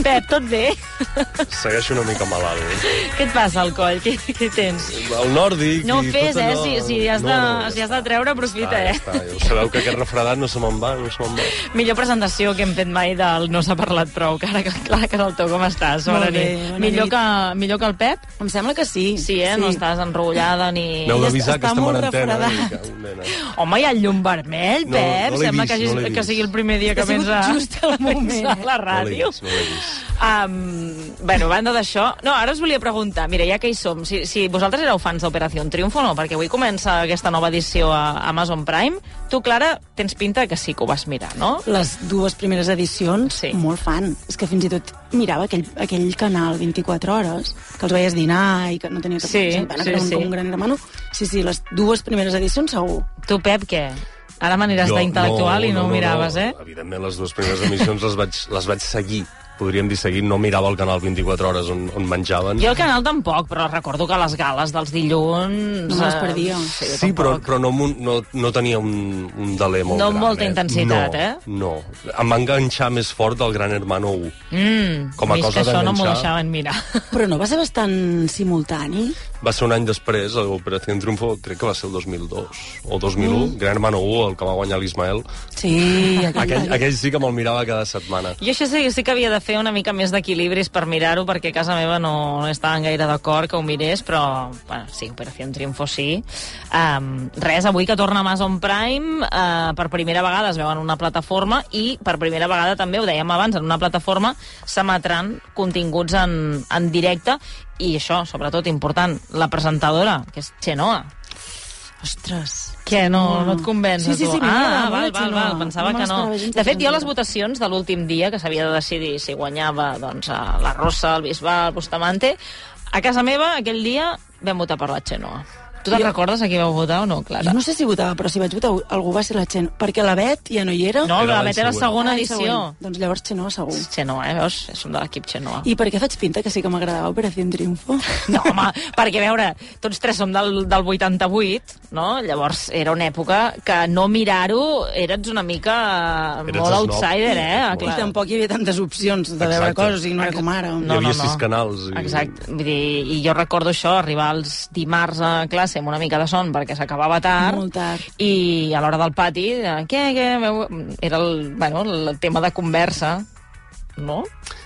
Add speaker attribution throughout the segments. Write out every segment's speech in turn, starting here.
Speaker 1: Pep, tot bé?
Speaker 2: Segueixo una mica malalt.
Speaker 1: Què et passa al coll? Què, què tens?
Speaker 2: El nòrdic...
Speaker 1: No ho
Speaker 2: i
Speaker 1: fes,
Speaker 2: tot
Speaker 1: eh?
Speaker 2: allò-
Speaker 1: Si, si, has, de, si has de treure,
Speaker 2: està, Ah,
Speaker 1: aprofita,
Speaker 2: ja
Speaker 1: eh?
Speaker 2: està. Ja ho sabeu que aquest refredat no se me'n va, no se me'n va.
Speaker 1: Millor presentació que hem fet mai del No s'ha parlat prou. Cara, Clara Caraltó, com estàs? Bona
Speaker 3: Molt bé,
Speaker 1: nit.
Speaker 3: bona
Speaker 1: millor,
Speaker 3: nit.
Speaker 1: Que, millor que el Pep?
Speaker 3: Em sembla que sí.
Speaker 1: Sí, eh? No estàs enrotllada ni...
Speaker 2: Aneu
Speaker 3: Ella
Speaker 2: d'avisar
Speaker 3: està
Speaker 2: que estem
Speaker 3: molt
Speaker 2: en antena. una
Speaker 3: refredat.
Speaker 2: mica, nena.
Speaker 1: Home, hi ha el llum vermell,
Speaker 2: No,
Speaker 1: Pep.
Speaker 2: no l'he
Speaker 1: Sembla
Speaker 2: vist,
Speaker 1: que, hagis-
Speaker 2: no l'he
Speaker 1: que
Speaker 2: vist.
Speaker 1: sigui el primer dia que
Speaker 3: Ha sigut
Speaker 1: vens a...
Speaker 3: just el moment,
Speaker 1: vens a la
Speaker 3: eh?
Speaker 2: No l'he
Speaker 1: ràdio.
Speaker 2: vist, no l'he vist.
Speaker 1: Um, bueno, a banda d'això... No, ara us volia preguntar, mira, ja que hi som, si, si vosaltres éreu fans d'Operació Triunfo o no, perquè avui comença aquesta nova edició a Amazon Prime. Tu, Clara, tens pinta que sí que ho vas mirar, no?
Speaker 3: Les dues primeres edicions,
Speaker 1: Sí.
Speaker 3: sí. molt fan. És que fins i tot mirava aquell, aquell canal 24 hores, que els veies dinar i que no tenia cap
Speaker 1: Sí,
Speaker 3: cosa, que
Speaker 1: sí,
Speaker 3: era un,
Speaker 1: sí.
Speaker 3: com un gran hermano. Sí, sí, les dues primeres edicions segur.
Speaker 1: Tu, Pep, què? Ara m'aniràs
Speaker 2: Jo-
Speaker 1: d'intel·lectual i no, ho miraves, eh?
Speaker 2: Evidentment, les dues primeres emissions les vaig, les vaig seguir. Podríem dir seguir, no mirava el canal 24 hores on, on menjaven.
Speaker 1: Jo el canal tampoc, però recordo que les gales dels dilluns...
Speaker 3: No me les
Speaker 1: eh,
Speaker 3: perdia.
Speaker 1: jo
Speaker 2: Sí, però,
Speaker 1: tampoc.
Speaker 2: però no, m'ho- no, no tenia un, un deler molt
Speaker 1: No amb
Speaker 2: gran.
Speaker 1: molta
Speaker 2: eh?
Speaker 1: intensitat,
Speaker 2: no,
Speaker 1: eh?
Speaker 2: No, em va enganxar més fort del Gran Hermano 1.
Speaker 1: Mm,
Speaker 2: com a
Speaker 1: vist
Speaker 2: cosa
Speaker 1: que això no m'ho
Speaker 2: d'enganxar-
Speaker 1: deixaven mirar.
Speaker 3: Però no va ser bastant simultani?
Speaker 2: Va ser un any després, a l'Operació Triunfo, crec que va ser el 2002 o 2001, mm. Gran Hermano 1, el que va guanyar l'Ismael.
Speaker 3: Sí,
Speaker 2: Aquell,
Speaker 3: aquell...
Speaker 2: aquell sí que me'l mirava cada setmana.
Speaker 1: Jo això sí, sí que havia de fer una mica més d'equilibris per mirar-ho, perquè a casa meva no, no estaven gaire d'acord que ho mirés, però bueno, sí, Operació Triunfo sí. Um, res, avui que torna Amazon Prime, uh, per primera vegada es veu en una plataforma i per primera vegada també, ho dèiem abans, en una plataforma s'emetran continguts en, en directe i això, sobretot important, la presentadora, que és Xenoa.
Speaker 3: Ostres.
Speaker 1: Que no,
Speaker 3: No.
Speaker 1: no et convenç
Speaker 3: Sí,
Speaker 1: a
Speaker 3: sí,
Speaker 1: tu.
Speaker 3: sí, m'agrada
Speaker 1: ah,
Speaker 3: molt
Speaker 1: val,
Speaker 3: la
Speaker 1: val,
Speaker 3: Xenoa.
Speaker 1: val, pensava
Speaker 3: No me
Speaker 1: que no.
Speaker 3: l'esperava gens
Speaker 1: De fet, jo
Speaker 3: defensora.
Speaker 1: les votacions de l'últim dia, que s'havia de decidir si guanyava doncs, a la Rosa, el Bisbal, Bustamante, a casa meva, aquell dia, vam votar per la Xenoa. Tu te'n recordes a qui vau votar o no, Clara?
Speaker 3: Jo no sé si votava, però si vaig votar algú va ser la Xen, perquè la Bet ja no hi era.
Speaker 1: no la
Speaker 2: Era l'any
Speaker 1: Bet era
Speaker 2: següent.
Speaker 1: segona
Speaker 3: L'any
Speaker 1: edició.
Speaker 3: següent. Doncs llavors Xenoa segur.
Speaker 1: Xenoa, eh, veus? Som de l'equip Xenoa.
Speaker 3: I per què faig pinta que sí que m'agradava Operació Triunfo?
Speaker 1: No, home, perquè, a veure, tots tres som del, del 88, no? Llavors, era una època que no mirar-ho eres una mica
Speaker 2: Eres
Speaker 1: molt
Speaker 2: snob.
Speaker 1: outsider, eh?
Speaker 2: Molt.
Speaker 1: Clar.
Speaker 3: I tampoc hi havia tantes opcions de
Speaker 2: Exacte.
Speaker 3: veure coses, o sigui, no era com ara.
Speaker 2: No. Hi havia sis canals i-
Speaker 1: Exacte. Vull dir, I jo recordo això, arribar els dimarts a classe amb una mica de son perquè s'acabava tard.
Speaker 3: Molt tard.
Speaker 1: I a l'hora del pati, eh, què, què, veu? Era el, bueno, el tema de conversa, no?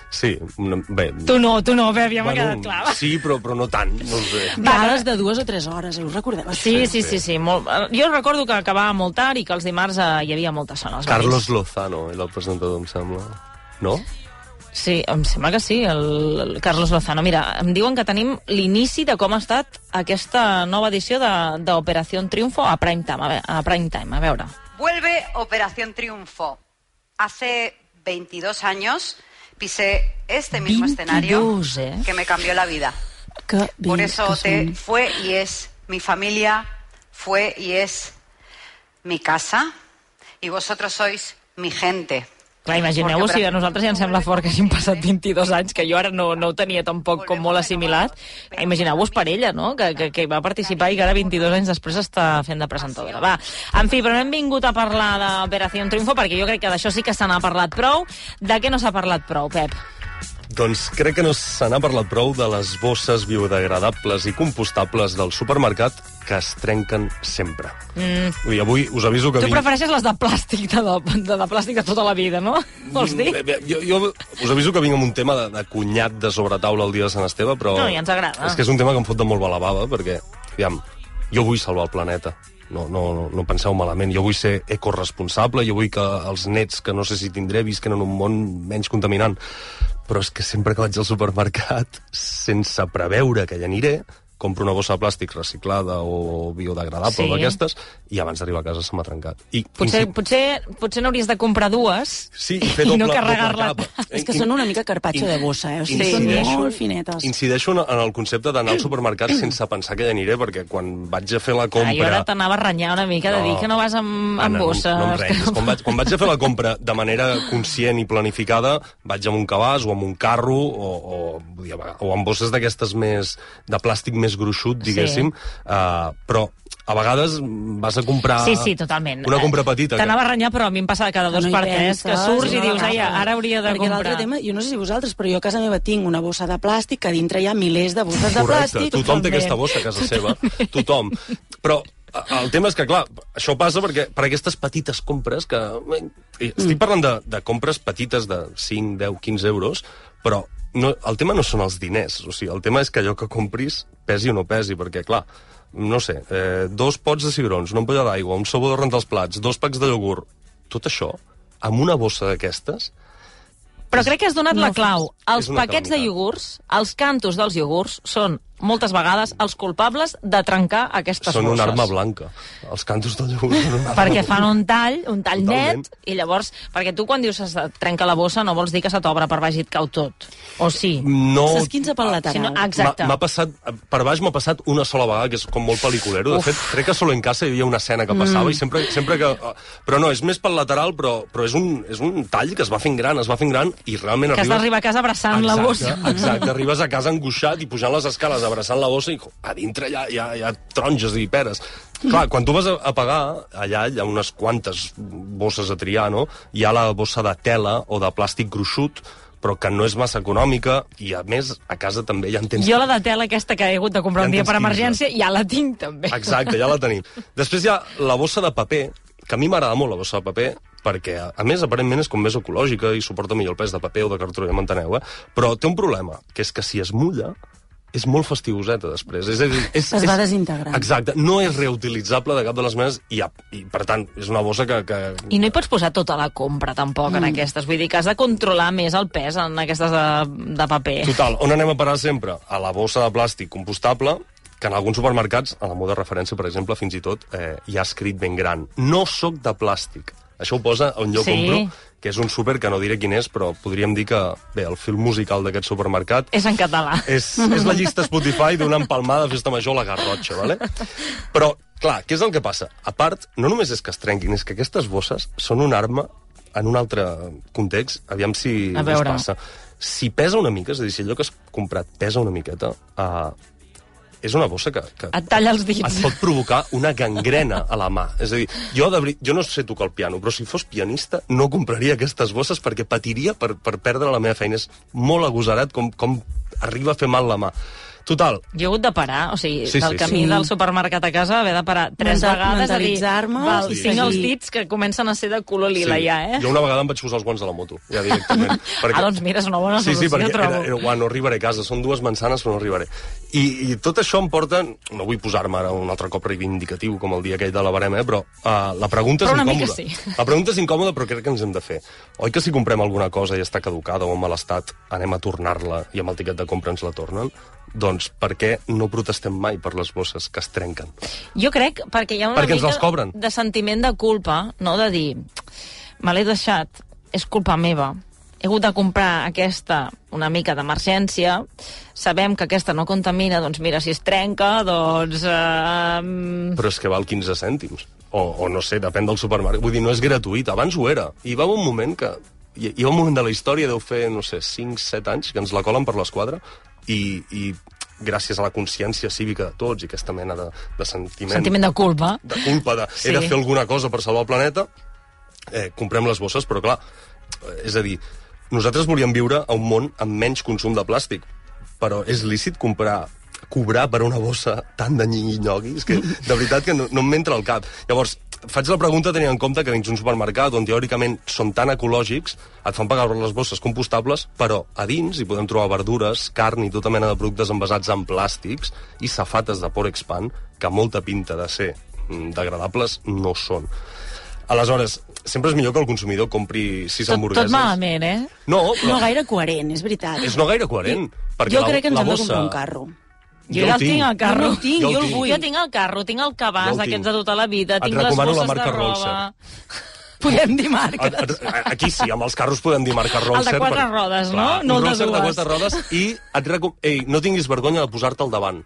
Speaker 2: Sí, una, bé...
Speaker 1: Tu no, tu no, Pep, ja m'ha quedat clar.
Speaker 2: sí, però, però no tant, no ho sé.
Speaker 3: Vegades de dues o tres hores, eh? us recordeu?
Speaker 1: Sí, sí,
Speaker 2: Sí,
Speaker 1: sí,
Speaker 2: sí.
Speaker 1: sí. Molt... eh, Jo recordo que acabava molt tard i que els dimarts eh, hi havia molta son. als
Speaker 2: Carlos Lozano era el presentador, em sembla. No?
Speaker 1: barris. Sí, em sembla que sí, el, el Carlos Lozano. Mira, em diuen que tenim l'inici de com ha estat aquesta nova edició de- d'Operació Triunfo a Prime Time. A, ve- a Prime Time, a veure.
Speaker 4: Vuelve Operación Triunfo. Hace 22 años pisé este mismo
Speaker 1: 22,
Speaker 4: escenario
Speaker 1: ¿eh?
Speaker 4: que me cambió la vida.
Speaker 3: Que bé,
Speaker 4: Por eso
Speaker 3: que
Speaker 4: te
Speaker 3: són.
Speaker 4: fue y es mi familia, fue y es mi casa y vosotros sois mi gente.
Speaker 1: Clar, imagineu-vos si
Speaker 4: Perquè
Speaker 1: a nosaltres ja ens sembla fort que hagin passat 22 anys, que jo ara no, no ho tenia tampoc com molt assimilat. Imagineu-vos per ella, no?, que, que, que hi va participar i que ara 22 anys després està fent de presentadora. Va, en fi, però no hem vingut a parlar d'Operació Triunfo perquè jo crec que d'això sí que se n'ha parlat prou. De què no s'ha parlat prou, Pep?
Speaker 2: Doncs crec que no se n'ha parlat prou de les bosses biodegradables i compostables del supermercat que es trenquen sempre. Mm. I avui us aviso que...
Speaker 1: Tu
Speaker 2: vinc-
Speaker 1: prefereixes les de plàstic, de, de, de, de plàstic de tota la vida, no?
Speaker 2: Mm,
Speaker 1: Vols dir?
Speaker 2: Bé, bé, Jo, jo us aviso que vinc amb un tema de, de cunyat de sobretaula el dia de Sant Esteve, però...
Speaker 1: No, ja ens agrada.
Speaker 2: És que és un tema que em fot de molt mala bava, perquè, aviam, jo vull salvar el planeta. No, no, no, no penseu malament. Jo vull ser ecoresponsable, jo vull que els nets, que no sé si tindré, visquen en un món menys contaminant. Però és que sempre que vaig al supermercat, sense preveure que hi aniré, compro una bossa de plàstic reciclada o biodegradable
Speaker 1: Sí.
Speaker 2: sí. o d'aquestes, i abans d'arribar a casa se m'ha trencat. I,
Speaker 1: Potser,
Speaker 2: insi-
Speaker 1: potser, potser n'hauries de comprar dues
Speaker 2: Sí, i, fer
Speaker 1: i no
Speaker 2: doble-
Speaker 1: carregar-la.
Speaker 2: doble capa.
Speaker 3: És que són una mica carpaccio
Speaker 2: in-
Speaker 3: de bossa, eh? O sigui,
Speaker 1: Sí.
Speaker 3: són
Speaker 2: incideixo-
Speaker 3: molt finetes.
Speaker 2: Incideixo en, en el concepte d'anar al supermercat sense pensar que hi aniré, perquè quan vaig a fer la
Speaker 1: Ah, jo ara
Speaker 2: compra...
Speaker 1: t'anava a renyar una mica de dir que no vas amb, amb
Speaker 2: Anna,
Speaker 1: bossa.
Speaker 2: No, no em renyis. Quan, vaig, quan vaig a fer la compra de manera conscient i planificada, vaig amb un cabàs o amb un carro o, o, vull dir, o amb bosses d'aquestes més... de plàstic més gruixut, diguéssim. Sí. Uh, però a vegades vas a comprar...
Speaker 1: Sí, sí, totalment.
Speaker 2: Una compra petita.
Speaker 1: T'anava a renyar, però a mi em passa cada dos
Speaker 3: Ah, hi
Speaker 1: per tres que
Speaker 3: penses,
Speaker 1: surts i
Speaker 3: no
Speaker 1: dius,
Speaker 3: agafes.
Speaker 1: ai, ara hauria de
Speaker 3: Perquè l'altre
Speaker 1: comprar.
Speaker 3: tema, jo no sé si vosaltres, però jo a casa meva tinc una bossa de plàstic que a dintre hi ha milers de bosses de
Speaker 2: Correcte,
Speaker 3: plàstic.
Speaker 2: tothom té
Speaker 1: totalment.
Speaker 2: aquesta bossa a casa seva, tothom. Però a- el tema és que, clar, això passa perquè per aquestes petites compres que... eh, i
Speaker 1: Mm.
Speaker 2: Estic parlant de, de compres petites de 5, 10, 15 euros, però no, el tema no són els diners. O sigui, el tema és que allò que compris pesi o no pesi, perquè, clar, no sé, eh, dos pots de cigrons, una ampolla d'aigua, un sabó de rentar els plats, dos packs de iogurt, tot això, amb una bossa d'aquestes,
Speaker 1: Però crec que has donat la clau. Els
Speaker 2: és una
Speaker 1: paquets de
Speaker 2: calamitat.
Speaker 1: iogurts, els cantos dels iogurts, són moltes vegades els culpables de trencar aquestes
Speaker 2: són
Speaker 1: bosses.
Speaker 2: una arma blanca. Els cantos del iogurt són una arma
Speaker 1: perquè fan un tall, un tall
Speaker 2: Totalment.
Speaker 1: net, i llavors, perquè tu quan dius que se trenca la bossa no vols dir que se t'obre per baix i et cau tot. O sí? Ah,
Speaker 2: no...
Speaker 3: S'esquinça pel lateral.
Speaker 1: Si no,
Speaker 2: M'ha
Speaker 1: exacte.
Speaker 2: m'ha passat, per baix m'ha passat una sola vegada, que és com molt pel·liculero. De
Speaker 1: Uf. Mm.
Speaker 2: fet, crec que solo en casa hi havia una escena que passava i sempre, sempre que... eh, Però no, és més pel lateral, però, però és, un, és un tall que es va fent gran, es va fent gran i realment
Speaker 1: Que has
Speaker 2: arribes...
Speaker 1: d'arribar a casa abraçant
Speaker 2: exacte,
Speaker 1: la bossa.
Speaker 2: Exacte, arribes a casa angoixat i pujant les escales, abraçant la bossa i jo, a dintre hi ha, hi ha, hi ha taronges i peres. Clar, quan tu vas a, a pagar, allà hi ha unes quantes bosses a triar, no? Hi ha la bossa de tela o de plàstic gruixut, però que no és massa econòmica, i a més, a casa també ja en tens
Speaker 1: Jo la de tela aquesta que he hagut de comprar
Speaker 2: Ja
Speaker 1: un
Speaker 2: en
Speaker 1: dia
Speaker 2: tens
Speaker 1: per
Speaker 2: 15.
Speaker 1: emergència, ja la tinc també.
Speaker 2: Exacte, ja la tenim. Després hi ha la bossa de paper, que a mi m'agrada molt la bossa de paper, perquè, a més, aparentment és com més ecològica i suporta millor el pes de paper o de cartró, ja m'enteneu, eh? Però té un problema, que és que si es mulla, és molt fastigoseta després. És, a dir, és,
Speaker 3: Es
Speaker 2: és-
Speaker 3: va desintegrant.
Speaker 2: Exacte, no és reutilitzable de cap de les maneres i, a- i per tant, és una bossa que... que...
Speaker 1: I no hi pots posar tota la compra, tampoc, mm. en aquestes. Vull dir que has de controlar més el pes en aquestes de, de paper.
Speaker 2: Total, on anem a parar sempre? A la bossa de plàstic compostable, que en alguns supermercats, a la moda de referència, per exemple, fins i tot eh, hi ha escrit ben gran. No soc de plàstic. Això ho posa on jo
Speaker 1: Sí.
Speaker 2: compro, que és un súper que no diré quin és, però podríem dir que, bé, el fil musical d'aquest supermercat
Speaker 1: És en català.
Speaker 2: és, és la llista Spotify d'una empalmada de festa major a la Garrotxa, vale? Però, clar, què és el que passa? A part, no només és que es trenquin, és que aquestes bosses són una arma en un altre context, aviam si
Speaker 1: A veure.
Speaker 2: us passa. Si pesa una mica, és a dir, si allò que has comprat pesa una miqueta, uh, és una bossa que, que
Speaker 1: Et talla els dits.
Speaker 2: et pot provocar una gangrena a la mà. És a dir, jo, de, veri- jo no sé tocar el piano, però si fos pianista no compraria aquestes bosses perquè patiria per, per perdre la meva feina. És molt agosarat com, com arriba a fer mal la mà. Total,
Speaker 1: Jo he hagut de parar, o sigui, sí,
Speaker 2: Sí, sí,
Speaker 1: del
Speaker 2: sí.
Speaker 1: camí
Speaker 3: Sí.
Speaker 1: del supermercat a casa, haver de parar tres
Speaker 3: Mental-
Speaker 1: vegades, a dir,
Speaker 3: mentalitzar-me
Speaker 1: val,
Speaker 3: i
Speaker 1: tinc els
Speaker 3: seguir.
Speaker 1: dits que comencen a ser de color lila ja, eh?
Speaker 2: jo una vegada em vaig posar els guants de la moto, ja directament.
Speaker 1: Ah, doncs mira, és una bona
Speaker 2: sí, sí,
Speaker 1: solució,
Speaker 2: perquè
Speaker 1: trobo.
Speaker 2: era, era, uah, no arribaré a casa, són dues mansanes però no arribaré. I, i tot això em porta, no vull posar-me ara un altre cop reivindicatiu com el dia aquell de la barema, eh, però uh, la pregunta
Speaker 1: Però
Speaker 2: és
Speaker 1: una mica
Speaker 2: incòmoda.
Speaker 1: sí.
Speaker 2: La pregunta és incòmoda, però crec que ens hem de fer. Oi que si comprem alguna cosa i està caducada o en mal estat, anem a tornar-la i amb el tiquet de compra ens la tornen? Doncs per què no protestem mai per les bosses que es trenquen?
Speaker 1: Jo crec, perquè hi ha una
Speaker 2: Perquè ens
Speaker 1: mica
Speaker 2: els cobren.
Speaker 1: de sentiment de culpa, no? De dir, me l'he deixat, és culpa meva. He hagut de comprar aquesta una mica d'emergència, sabem que aquesta no contamina, doncs mira, si es trenca, doncs... Eh,
Speaker 2: Però és que val 15 cèntims. O, o no sé, depèn del supermercat. Vull dir, no és gratuït. Abans ho era. Hi va un moment que... Hi, hi va un moment de la història, deu fer, no sé, 5-7 anys, que ens la colen per l'esquadra i, i gràcies a la consciència cívica de tots i aquesta mena de, de sentiment,
Speaker 1: sentiment de culpa.
Speaker 2: de culpa, de sí.
Speaker 1: Sí.
Speaker 2: he de fer alguna cosa per salvar el planeta, eh, comprem les bosses, però clar, eh, és a dir, nosaltres volíem viure a un món amb menys consum de plàstic, però és lícit comprar cobrar per una bossa tan de nyingui-nyogui, és que de veritat que no, no em entra al cap. Llavors, faig la pregunta tenint en compte que dins un supermercat on teòricament són tan ecològics, et fan pagar per les bosses compostables, però a dins hi podem trobar verdures, carn i tota mena de productes envasats en plàstics i safates de por expand que molta pinta de ser mm, degradables no són. Aleshores, sempre és millor que el consumidor compri sis
Speaker 1: Tot,
Speaker 2: hamburgueses.
Speaker 1: tot malament, eh?
Speaker 2: No, però
Speaker 3: No gaire coherent, és veritat.
Speaker 2: és no gaire coherent. perquè
Speaker 3: jo
Speaker 2: la,
Speaker 3: crec que ens
Speaker 2: la
Speaker 3: hem de
Speaker 2: bossa...
Speaker 3: comprar un carro.
Speaker 1: Jo, jo ja el tinc, al carro.
Speaker 3: Jo no el tinc,
Speaker 2: Jo el
Speaker 3: jo el
Speaker 2: tinc.
Speaker 3: vull.
Speaker 1: Jo tinc el carro, tinc el
Speaker 2: Jo
Speaker 1: cabàs
Speaker 2: el
Speaker 1: d'aquests
Speaker 2: tinc.
Speaker 1: de tota la vida,
Speaker 2: Et
Speaker 1: tinc les
Speaker 2: recomano la
Speaker 1: bosses de
Speaker 2: marca
Speaker 1: roba...
Speaker 3: Podem dir marques.
Speaker 2: A- a- Aquí sí, amb els carros podem dir marca Rolser.
Speaker 1: quatre
Speaker 2: perquè-
Speaker 1: rodes, no?
Speaker 2: Clar,
Speaker 1: No el
Speaker 2: un
Speaker 1: de
Speaker 2: Rolser de
Speaker 1: dues.
Speaker 2: quatre rodes i et recom... Ei, no tinguis vergonya de posar-te al davant.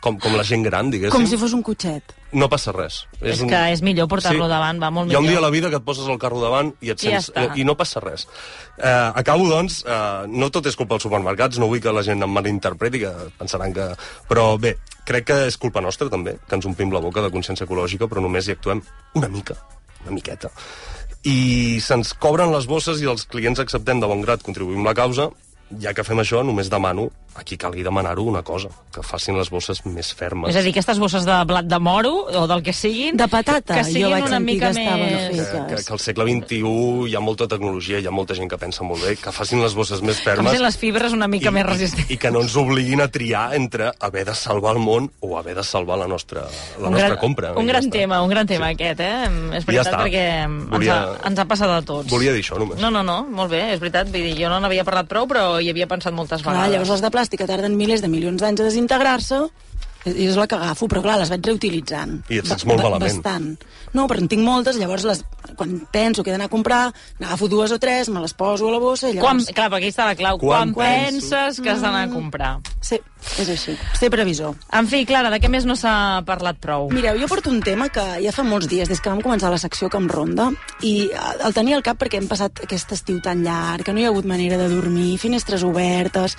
Speaker 2: Com, com la gent gran, diguéssim.
Speaker 3: Com si fos un cotxet.
Speaker 2: No passa res.
Speaker 1: És que és millor portar-lo davant, va, molt
Speaker 2: Hi ha un
Speaker 1: millor.
Speaker 2: dia a la vida que et poses el carro davant i et
Speaker 1: I ja
Speaker 2: sents...
Speaker 1: està.
Speaker 2: I no passa res. Eh, acabo, doncs, eh, no tot és culpa dels supermercats, no vull que la gent em malinterpreti, que pensaran que... Però bé, crec que és culpa nostra, també, que ens omplim la boca de consciència ecològica, però només hi actuem una mica, una miqueta. I se'ns cobren les bosses i els clients acceptem de bon grat, contribuïm a la causa, ja que fem això, només demano, a qui calgui demanar-ho, una cosa, que facin les bosses més fermes.
Speaker 1: És a dir, aquestes bosses de blat de moro, o del que siguin...
Speaker 3: De patata,
Speaker 1: que
Speaker 3: jo
Speaker 1: siguin
Speaker 3: vaig
Speaker 1: una
Speaker 3: sentir
Speaker 1: mica
Speaker 3: que estaven
Speaker 1: més...
Speaker 3: fetes.
Speaker 2: que, que, que al segle XXI hi ha molta tecnologia, hi ha molta gent que pensa molt bé, que facin les bosses més
Speaker 1: Com
Speaker 2: fermes
Speaker 1: si les fibres una mica més
Speaker 2: i,
Speaker 1: resistents.
Speaker 2: i que no ens obliguin a triar entre haver de salvar el món o haver de salvar la nostra, la
Speaker 1: Un
Speaker 2: nostra
Speaker 1: gran-
Speaker 2: compra.
Speaker 1: Un
Speaker 2: I
Speaker 1: gran
Speaker 2: ja està.
Speaker 1: tema, un gran tema aquest, eh? És
Speaker 2: I ja
Speaker 1: veritat,
Speaker 2: està.
Speaker 1: perquè ens,
Speaker 2: Volia-
Speaker 1: ha, ens ha passat a tots.
Speaker 2: Volia dir això, només.
Speaker 1: No, no, no, molt bé, és veritat. Vull dir, jo no n'havia parlat prou, però hi havia pensat moltes
Speaker 3: Clar,
Speaker 1: vegades.
Speaker 3: llavors les de plàstica tarden milers de milions d'anys a desintegrar-se i és la que agafo, però clar, les vaig reutilitzant.
Speaker 2: I et sents
Speaker 3: Ba-
Speaker 2: molt
Speaker 3: ba-
Speaker 2: malament.
Speaker 3: Bastant. No, però en tinc moltes, llavors les, quan penso que he d'anar a comprar, n'agafo dues o tres, me les poso a la bossa i
Speaker 1: Quan,
Speaker 3: llavors...
Speaker 1: clar, perquè aquí està la clau. Quan,
Speaker 2: Quan
Speaker 1: penses
Speaker 2: penso.
Speaker 1: que has d'anar a comprar?
Speaker 3: Sí, és així. Ser previsor.
Speaker 1: En fi, Clara, de què més no s'ha parlat prou?
Speaker 3: Mireu, jo porto un tema que ja fa molts dies, des que vam començar la secció que em ronda, i eh, el tenia al cap perquè hem passat aquest estiu tan llarg, que no hi ha hagut manera de dormir, finestres obertes...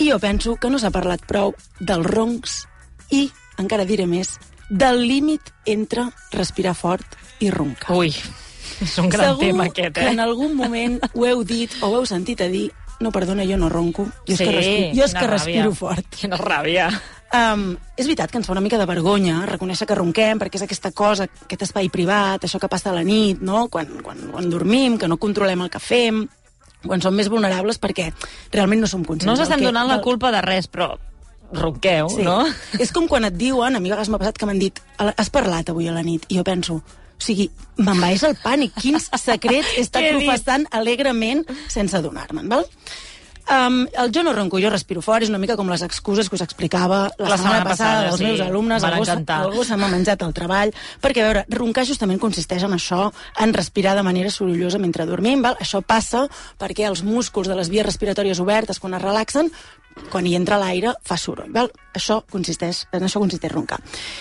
Speaker 3: I jo penso que no s'ha parlat prou dels roncs i, encara diré més, del límit entre respirar fort i roncar.
Speaker 1: Ui, és un gran
Speaker 3: Segur
Speaker 1: tema aquest,
Speaker 3: que
Speaker 1: eh?
Speaker 3: en algun moment ho heu dit o ho heu sentit a dir no, perdona, jo no ronco, jo és
Speaker 1: Sí,
Speaker 3: que respiro, jo és
Speaker 1: quina
Speaker 3: que
Speaker 1: ràbia.
Speaker 3: respiro fort.
Speaker 1: Quina ràbia.
Speaker 3: Um, és veritat que ens fa una mica de vergonya reconèixer que ronquem, perquè és aquesta cosa, aquest espai privat, això que passa a la nit, no? quan, quan, quan dormim, que no controlem el que fem, quan som més vulnerables perquè realment no som conscients.
Speaker 1: No us
Speaker 3: del
Speaker 1: estem
Speaker 3: que-
Speaker 1: donant la
Speaker 3: del-
Speaker 1: culpa de res, però ronqueu,
Speaker 3: Sí.
Speaker 1: no?
Speaker 3: És com quan et diuen, a mi a vegades m'ha passat que m'han dit "Ala, has parlat avui a la nit, i jo penso, o sigui, me'n va és el pànic, quins secrets he estat
Speaker 1: Què he dit?
Speaker 3: professant alegrement sense adonar-me'n, val? Um, el jo no ronco, jo respiro fort, és una mica com les excuses que us explicava la,
Speaker 1: La
Speaker 3: setmana,
Speaker 1: setmana
Speaker 3: passada,
Speaker 1: passada,
Speaker 3: dels
Speaker 1: sí,
Speaker 3: meus alumnes,
Speaker 1: em van
Speaker 3: el gos,
Speaker 1: encantar.
Speaker 3: el gos se m'ha menjat el treball, perquè, a veure, roncar justament consisteix en això, en respirar de manera sorollosa mentre dormim, val? això passa perquè els músculs de les vies respiratòries obertes, quan es relaxen, quan hi entra l'aire, fa soroll. Val? Això consisteix, en això consisteix roncar.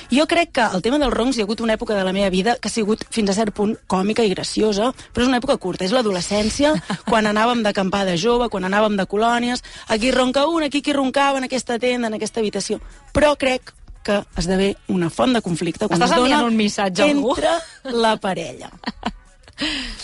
Speaker 3: Jo crec que el tema dels roncs hi ha hagut una època de la meva vida que ha sigut fins a cert punt còmica i graciosa, però és una època curta, és l'adolescència, quan anàvem d'acampar de jove, quan anàvem de colònies, aquí ronca un, aquí qui roncava, en aquesta tenda, en aquesta habitació. Però crec que esdevé una font de conflicte quan
Speaker 1: Estàs
Speaker 3: es dona
Speaker 1: enviant un missatge a algú?
Speaker 3: entre la parella.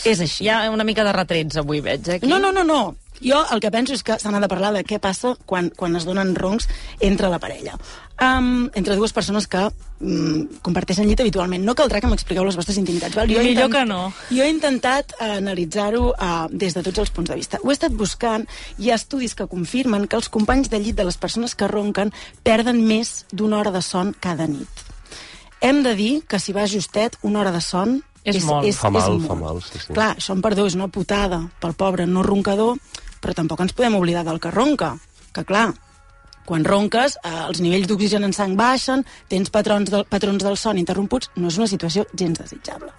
Speaker 3: és així.
Speaker 1: Hi ha una mica de retrets avui, veig, eh, aquí.
Speaker 3: No, no, no, no. Jo el que penso és que se n'ha de parlar de què passa quan, quan es donen roncs entre la parella. Um, entre dues persones que um, comparteixen llit habitualment. No caldrà que m'expliqueu les vostres intimitats. Val? he
Speaker 1: Millor que no.
Speaker 3: Jo he intentat eh, analitzar-ho eh, des de tots els punts de vista. Ho he estat buscant i hi ha estudis que confirmen que els companys de llit de les persones que ronquen perden més d'una hora de son cada nit. Hem de dir que si va justet, una hora de son
Speaker 1: És molt.
Speaker 2: Fa mal,
Speaker 3: molt.
Speaker 2: fa mal, sí, sí.
Speaker 3: Clar, això en perdó és una putada pel pobre no roncador, però tampoc ens podem oblidar del que ronca, que clar, quan ronques, eh, els nivells d'oxigen en sang baixen, tens patrons del, patrons del son interromputs, no és una situació gens desitjable.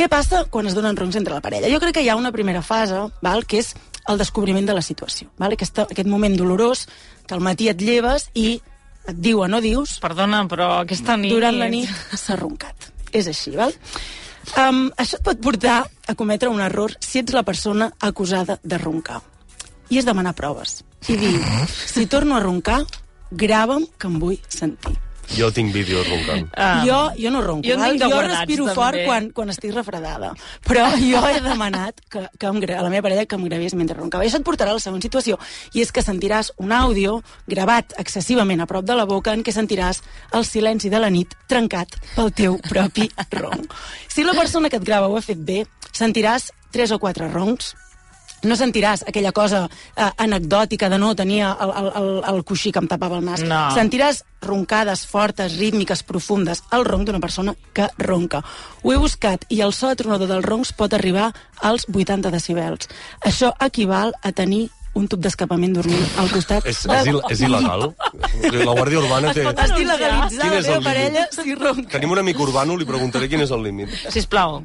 Speaker 3: Què passa quan es donen roncs entre la parella? Jo crec que hi ha una primera fase, val, que és el descobriment de la situació. Val? Aquest, aquest moment dolorós que al matí et lleves i et diu o no dius,
Speaker 1: Perdona, però aquesta nit...
Speaker 3: durant la nit s'ha roncat. És així, val? Um, això et pot portar a cometre un error si ets la persona acusada de roncar. I és demanar proves. I dir, si torno a roncar, grava'm que em vull sentir.
Speaker 2: Jo tinc vídeos roncant.
Speaker 1: Ah.
Speaker 3: jo, jo no ronco,
Speaker 1: jo en
Speaker 3: val?
Speaker 1: tinc de
Speaker 3: jo
Speaker 1: guardats,
Speaker 3: respiro
Speaker 1: també.
Speaker 3: fort quan, quan estic refredada. Però jo he demanat que, que em, gra- a la meva parella que em gravés mentre roncava. I això et portarà a la següent situació, i és que sentiràs un àudio gravat excessivament a prop de la boca en què sentiràs el silenci de la nit trencat pel teu propi ronc. Si la persona que et grava ho ha fet bé, sentiràs tres o quatre roncs, no sentiràs aquella cosa eh, anecdòtica de no tenir el, el, el, el coixí que em tapava el nas.
Speaker 1: No.
Speaker 3: Sentiràs roncades fortes, rítmiques, profundes, el ronc d'una persona que ronca. Ho he buscat i el so atronador dels roncs pot arribar als 80 decibels. Això equival a tenir un tub d'escapament dormint al costat.
Speaker 2: És, és, il, és il·legal? La Guàrdia Urbana té...
Speaker 1: Es pot
Speaker 3: Has d'il·legalitzar
Speaker 2: Quin
Speaker 3: la
Speaker 2: és el
Speaker 3: teva
Speaker 2: límit?
Speaker 3: parella si ronca.
Speaker 2: Tenim un amic urbano, li preguntaré quin és el límit.
Speaker 1: Sisplau,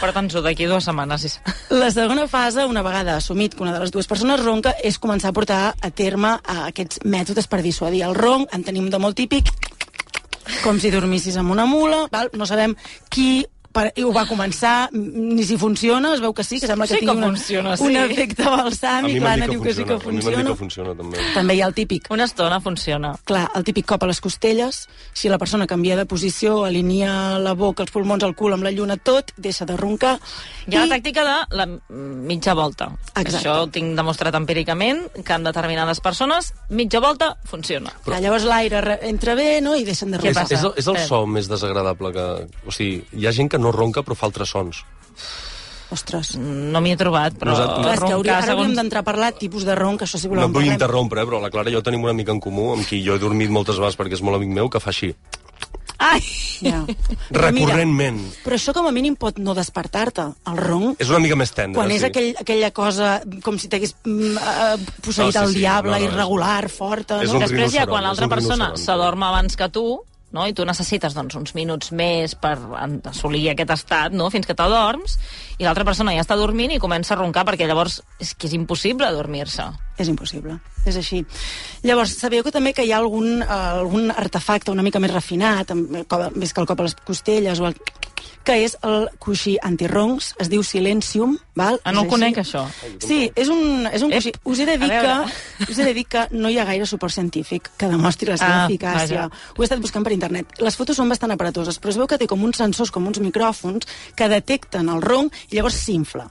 Speaker 1: porta'ns-ho d'aquí dues setmanes. Si...
Speaker 3: La segona fase, una vegada assumit que una de les dues persones ronca, és començar a portar a terme eh, aquests mètodes per dissuadir el ronc. En tenim de molt típic, com si dormissis amb una mula, val? no sabem qui per, ho va començar, ni si funciona, es veu que sí, que sembla que
Speaker 1: Sí que
Speaker 3: tingui una-
Speaker 1: funciona, sí.
Speaker 3: un efecte
Speaker 2: A mi
Speaker 3: balsàmic,
Speaker 2: m'han
Speaker 3: l'Anna
Speaker 2: dit
Speaker 3: diu que sí que
Speaker 2: A mi m'han dit
Speaker 3: funciona.
Speaker 2: que funciona, també.
Speaker 3: També hi ha el típic
Speaker 1: Una estona funciona.
Speaker 3: clar, el típic cop a les costelles, si la persona canvia de posició, alinea la boca, els pulmons, el cul amb la lluna, tot, deixa de roncar.
Speaker 1: Hi ha
Speaker 3: I-
Speaker 1: la tàctica de la mitja volta.
Speaker 3: Exacte.
Speaker 1: Això ho tinc demostrat empíricament, que en determinades persones mitja volta funciona.
Speaker 3: Però... Ah, Llavors l'aire re- entra bé, no?, i deixen de
Speaker 1: Què
Speaker 3: roncar.
Speaker 1: passa? Eh.
Speaker 2: És, el, és el
Speaker 1: Pep.
Speaker 2: so més desagradable que... O sigui, hi ha gent que no ronca però fa altres sons.
Speaker 3: Ostres.
Speaker 2: Mm.
Speaker 1: No m'hi he trobat, però...
Speaker 2: Nosaltres-
Speaker 3: Clar, és que hauria,
Speaker 1: roncar
Speaker 3: ara hauríem
Speaker 1: segons-
Speaker 3: d'entrar a parlar tipus de ronc, això si voleu
Speaker 2: No
Speaker 3: en
Speaker 2: et vull
Speaker 3: parlem.
Speaker 2: interrompre, eh, però la Clara i jo tenim una mica en comú amb qui jo he dormit moltes vegades perquè és molt amic meu, que fa així,
Speaker 1: Ai!
Speaker 3: Ja. Però mira,
Speaker 2: recurrentment.
Speaker 3: Però això com a mínim pot no despertar-te, el ronc.
Speaker 2: És una mica més tendre,
Speaker 3: Quan
Speaker 2: sí.
Speaker 3: és aquell, aquella cosa com si t'hagués mm, eh,
Speaker 2: No,
Speaker 3: posseït
Speaker 2: sí,
Speaker 3: el
Speaker 2: sí,
Speaker 3: diable,
Speaker 2: no, no, és-
Speaker 3: irregular, forta...
Speaker 2: És
Speaker 3: no?
Speaker 2: un
Speaker 1: Després ja
Speaker 2: rinoceront,
Speaker 1: quan l'altra
Speaker 2: és un
Speaker 1: persona
Speaker 2: rinoceront.
Speaker 1: s'adorma abans que tu, no? i tu necessites doncs, uns minuts més per en- assolir aquest estat, no? fins que t'adorms, i l'altra persona ja està dormint i comença a roncar, perquè llavors és que és impossible dormir-se.
Speaker 3: És impossible, és així. Llavors, sabíeu que també que hi ha algun, eh, algun artefacte una mica més refinat, amb- com- més que el cop a les costelles, o el que és el coixí antirroncs, es diu Silencium, val?
Speaker 1: Ah, no
Speaker 3: És
Speaker 1: ho conec,
Speaker 3: així.
Speaker 1: això.
Speaker 3: Sí, és un, és un
Speaker 1: Ep,
Speaker 3: coixí. Us he, de dir
Speaker 1: a
Speaker 3: que,
Speaker 1: veure.
Speaker 3: us he de dir que no hi ha gaire suport científic que demostri la seva
Speaker 1: Ah,
Speaker 3: eficàcia.
Speaker 1: vaja.
Speaker 3: Ho he estat buscant per internet. Les fotos són bastant aparatoses, però es veu que té com uns sensors, com uns micròfons, que detecten el ronc i llavors s'infla.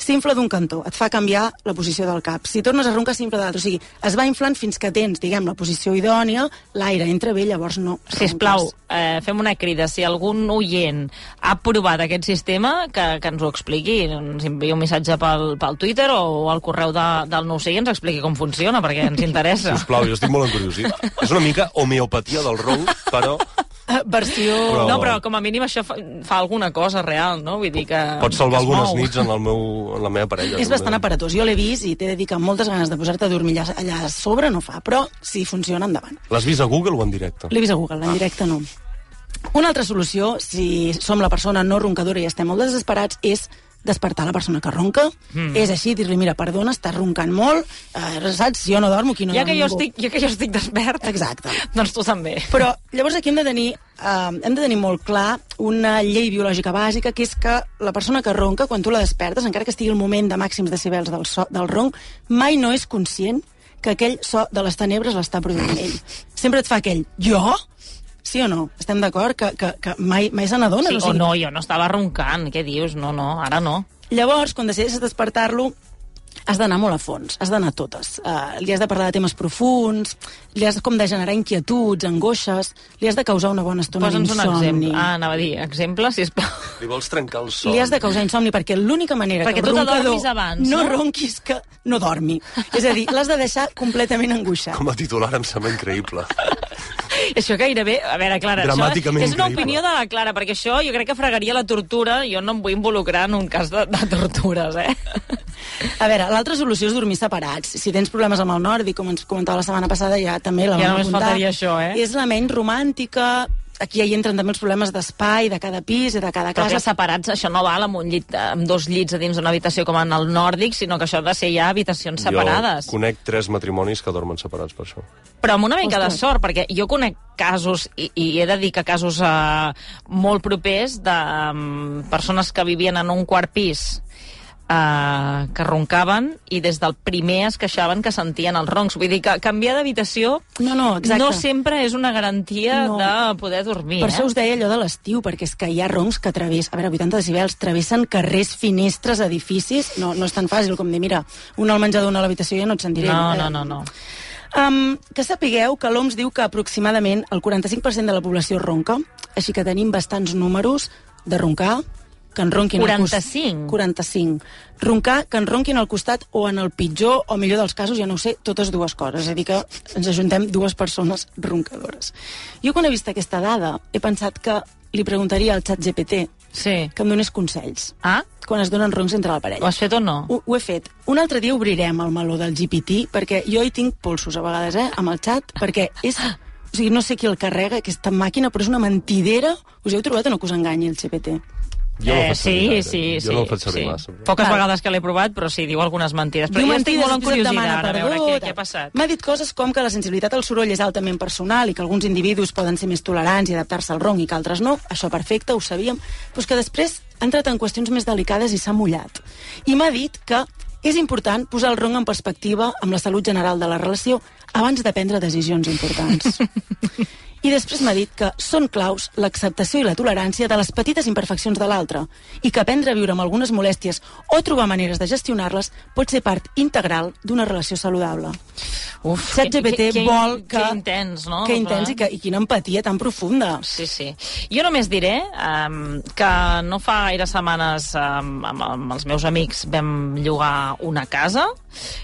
Speaker 3: S'infla d'un cantó, et fa canviar la posició del cap. Si tornes a roncar, s'infla de l'altre. O sigui, es va inflant fins que tens, diguem, la posició idònia, l'aire entra bé, llavors no
Speaker 1: Si us plau,
Speaker 3: ronques.
Speaker 1: eh, fem una crida. Si algun oient ha provat aquest sistema, que, que ens ho expliqui. Ens enviï un missatge pel, pel Twitter o al correu de, del nou i ens expliqui com funciona, perquè ens interessa.
Speaker 2: Sisplau, jo estic molt encuriosit. És una mica homeopatia del ronc, però
Speaker 3: Eh, Versió...
Speaker 2: Però-
Speaker 1: No, però com a mínim això fa, fa alguna cosa real, no? Vull dir que...
Speaker 2: pot salvar
Speaker 1: que es
Speaker 2: algunes
Speaker 1: mou.
Speaker 2: nits en, el meu, en la meva parella.
Speaker 3: És bastant
Speaker 2: només.
Speaker 3: aparatós. Jo l'he vist i t'he de dir que moltes ganes de posar-te a dormir allà, allà a sobre no fa, però si funciona, endavant.
Speaker 2: L'has vist a Google o en directe?
Speaker 3: L'he vist a Google, en directe no. Una altra solució, si som la persona no roncadora i estem molt desesperats, és despertar la persona que ronca.
Speaker 1: Hmm.
Speaker 3: Mm. És així, dir-li, mira, perdona, estàs roncant molt, eh, saps, jo no dormo, qui no
Speaker 1: Ja que,
Speaker 3: dorm
Speaker 1: jo
Speaker 3: ningú.
Speaker 1: estic, ja que jo estic despert,
Speaker 3: Exacte.
Speaker 1: doncs tu també.
Speaker 3: Però llavors aquí hem de, tenir, eh, hem de tenir molt clar una llei biològica bàsica, que és que la persona que ronca, quan tu la despertes, encara que estigui el moment de màxims decibels del, so, del ronc, mai no és conscient que aquell so de les tenebres l'està produint ell. Sempre et fa aquell, jo? Sí o no? Estem d'acord que, que, que mai, mai se n'adona?
Speaker 1: Sí, o no, jo no estava roncant, què dius? No, no, ara no.
Speaker 3: Llavors, quan decideixes despertar-lo, has d'anar molt a fons, has d'anar a totes. Uh, li has de parlar de temes profuns, li has com de generar inquietuds, angoixes, li has de causar una bona estona
Speaker 1: Posa'ns un exemple.
Speaker 3: d'insomni.
Speaker 1: Ah, anava a dir, exemple, sisplau.
Speaker 2: Li vols trencar el son?
Speaker 3: Li has de causar insomni, perquè l'única manera
Speaker 1: Perquè
Speaker 3: que
Speaker 1: tu
Speaker 3: el
Speaker 1: t'adormis
Speaker 3: roncador
Speaker 1: abans,
Speaker 3: no,
Speaker 1: no?
Speaker 3: ronquis que no dormi. És a dir, l'has de deixar completament angoixat.
Speaker 2: Com a titular em sembla increïble.
Speaker 1: Això gairebé... A veure, Clara, això és
Speaker 2: Dramàticament
Speaker 1: una
Speaker 2: increïble.
Speaker 1: opinió de la Clara, perquè això jo crec que fregaria la tortura. Jo no em vull involucrar en un cas de, de tortures, eh?
Speaker 3: A veure, l'altra solució és dormir separats. Si tens problemes amb el nòrdic, com ens comentava la setmana passada, ja també la
Speaker 1: Ja
Speaker 3: vam
Speaker 1: només
Speaker 3: apuntar.
Speaker 1: faltaria això, eh?
Speaker 3: És la menys romàntica, aquí ja hi entren també els problemes d'espai, de cada pis i de cada
Speaker 1: Però
Speaker 3: casa.
Speaker 1: clar, separats, això no val amb, un llit, amb dos llits a dins d'una habitació com en el nòrdic, sinó que això ha de ser ja habitacions separades.
Speaker 2: Jo conec tres matrimonis que dormen separats per això.
Speaker 1: Però amb una mica de
Speaker 3: Ostres.
Speaker 1: sort, perquè jo conec casos, i, i he de dir que casos eh, molt propers, de um, persones que vivien en un quart pis, eh, que roncaven, i des del primer es queixaven que sentien els roncs. Vull dir que canviar d'habitació
Speaker 3: No, no, exacte.
Speaker 1: no sempre és una garantia
Speaker 3: No.
Speaker 1: de poder dormir.
Speaker 3: Per
Speaker 1: eh?
Speaker 3: això us deia allò de l'estiu, perquè és que hi ha roncs que travessen, a veure, 80 decibels, travessen carrers, finestres, edificis, no, no és tan fàcil com dir, mira, un al menjador, un a l'habitació, ja no et sentiré.
Speaker 1: No,
Speaker 3: Eh,
Speaker 1: no, no, no.
Speaker 3: Um, que sapigueu que l'OMS diu que aproximadament el 45% de la població ronca, així que tenim bastants números de roncar, que en ronquin al costat.
Speaker 1: 45?
Speaker 3: 45. Roncar, que en ronquin al costat o en el pitjor, o millor dels casos, ja no ho sé, totes dues coses. És a dir, que ens ajuntem dues persones roncadores. Jo quan he vist aquesta dada he pensat que li preguntaria al xat GPT
Speaker 1: Sí.
Speaker 3: que em donis consells
Speaker 1: Ah,
Speaker 3: quan es donen roncs entre la parella.
Speaker 1: ho has fet o no?
Speaker 3: Ho, ho he fet. Un altre dia obrirem el meló del GPT, perquè jo hi tinc polsos a vegades, eh, amb el xat, perquè és... O sigui, no sé qui el carrega, aquesta màquina, però és una mentidera. Us heu trobat o no que us enganyi el GPT?
Speaker 2: Jo no el
Speaker 1: Eh,
Speaker 2: faig servir
Speaker 1: sí,
Speaker 2: gaire.
Speaker 1: sí,
Speaker 2: jo
Speaker 1: sí,
Speaker 2: no el faig servir
Speaker 1: sí.
Speaker 2: massa. però-
Speaker 1: Poques
Speaker 3: Val.
Speaker 1: vegades que l'he provat, però sí, diu algunes mentides. Però
Speaker 3: Diu
Speaker 1: jo estic
Speaker 3: mentides,
Speaker 1: molt en
Speaker 3: després et demana
Speaker 1: curiositat, a veure
Speaker 3: perdó,
Speaker 1: què,
Speaker 3: tal.
Speaker 1: què ha passat.
Speaker 3: M'ha dit coses com que la sensibilitat al soroll és altament personal i que alguns individus poden ser més tolerants i adaptar-se al ronc i que altres no. Això perfecte, ho sabíem. Però és que després ha entrat en qüestions més delicades i s'ha mullat. I m'ha dit que és important posar el ronc en perspectiva amb la salut general de la relació abans de prendre decisions importants. I després m'ha dit que són claus l'acceptació i la tolerància de les petites imperfeccions de l'altre i que aprendre a viure amb algunes molèsties o trobar maneres de gestionar-les pot ser part integral d'una relació saludable.
Speaker 1: Uf,
Speaker 3: ChatGPT vol que...
Speaker 1: Que intens, no?
Speaker 3: Que intens i, que, i quina empatia tan profunda.
Speaker 1: Sí, sí. Jo només diré um, que no fa gaire setmanes um, amb, amb els meus amics vam llogar una casa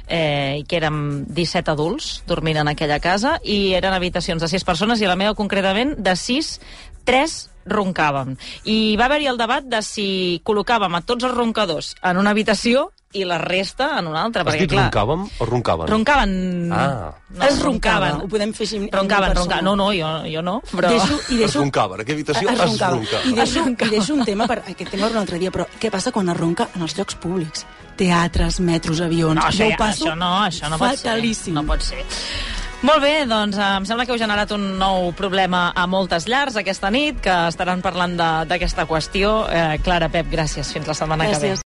Speaker 1: eh, i que érem 17 adults dormint en aquella casa i eren habitacions de 6 persones i a la meva concretament de 6, 3 roncàvem. I va haver-hi el debat de si col·locàvem a tots els roncadors en una habitació i la resta en una altra.
Speaker 2: Has
Speaker 1: perquè,
Speaker 2: dit
Speaker 1: clar,
Speaker 2: roncàvem o roncaven?
Speaker 1: Roncaven.
Speaker 2: Ah.
Speaker 1: No,
Speaker 3: es roncava.
Speaker 1: roncaven.
Speaker 3: Ho podem fer així. amb una
Speaker 1: Roncaven,
Speaker 3: persona.
Speaker 1: roncaven. No, no, jo, jo no. Però...
Speaker 3: Deixo, i
Speaker 2: Es
Speaker 3: deixo,
Speaker 2: roncava, en aquella habitació es,
Speaker 3: es roncava.
Speaker 2: roncava.
Speaker 3: I deixo, I deixo un tema per aquest tema per un altre dia, però què passa quan es ronca en els llocs públics? Teatres, metros, avions...
Speaker 1: No, això,
Speaker 3: Jo ho
Speaker 1: ja,
Speaker 3: passo
Speaker 1: això no, això no pot ser.
Speaker 3: fatalíssim.
Speaker 1: No pot ser. Molt bé, doncs eh, em sembla que heu generat un nou problema a moltes llars aquesta nit, que estaran parlant de- d'aquesta qüestió. Eh, Clara, Pep, gràcies. Fins la setmana que ve.
Speaker 3: Gràcies.